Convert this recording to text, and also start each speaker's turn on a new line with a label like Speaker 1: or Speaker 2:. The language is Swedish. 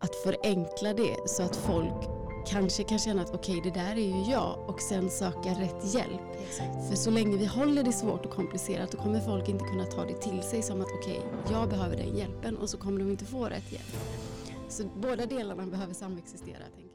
Speaker 1: att förenkla det så att folk kanske kan känna att okej, det där är ju jag och sen söka rätt hjälp. För så länge vi håller det svårt och komplicerat då kommer folk inte kunna ta det till sig som att okej, jag behöver den hjälpen och så kommer de inte få rätt hjälp. Så båda delarna behöver samexistera. Tänker jag.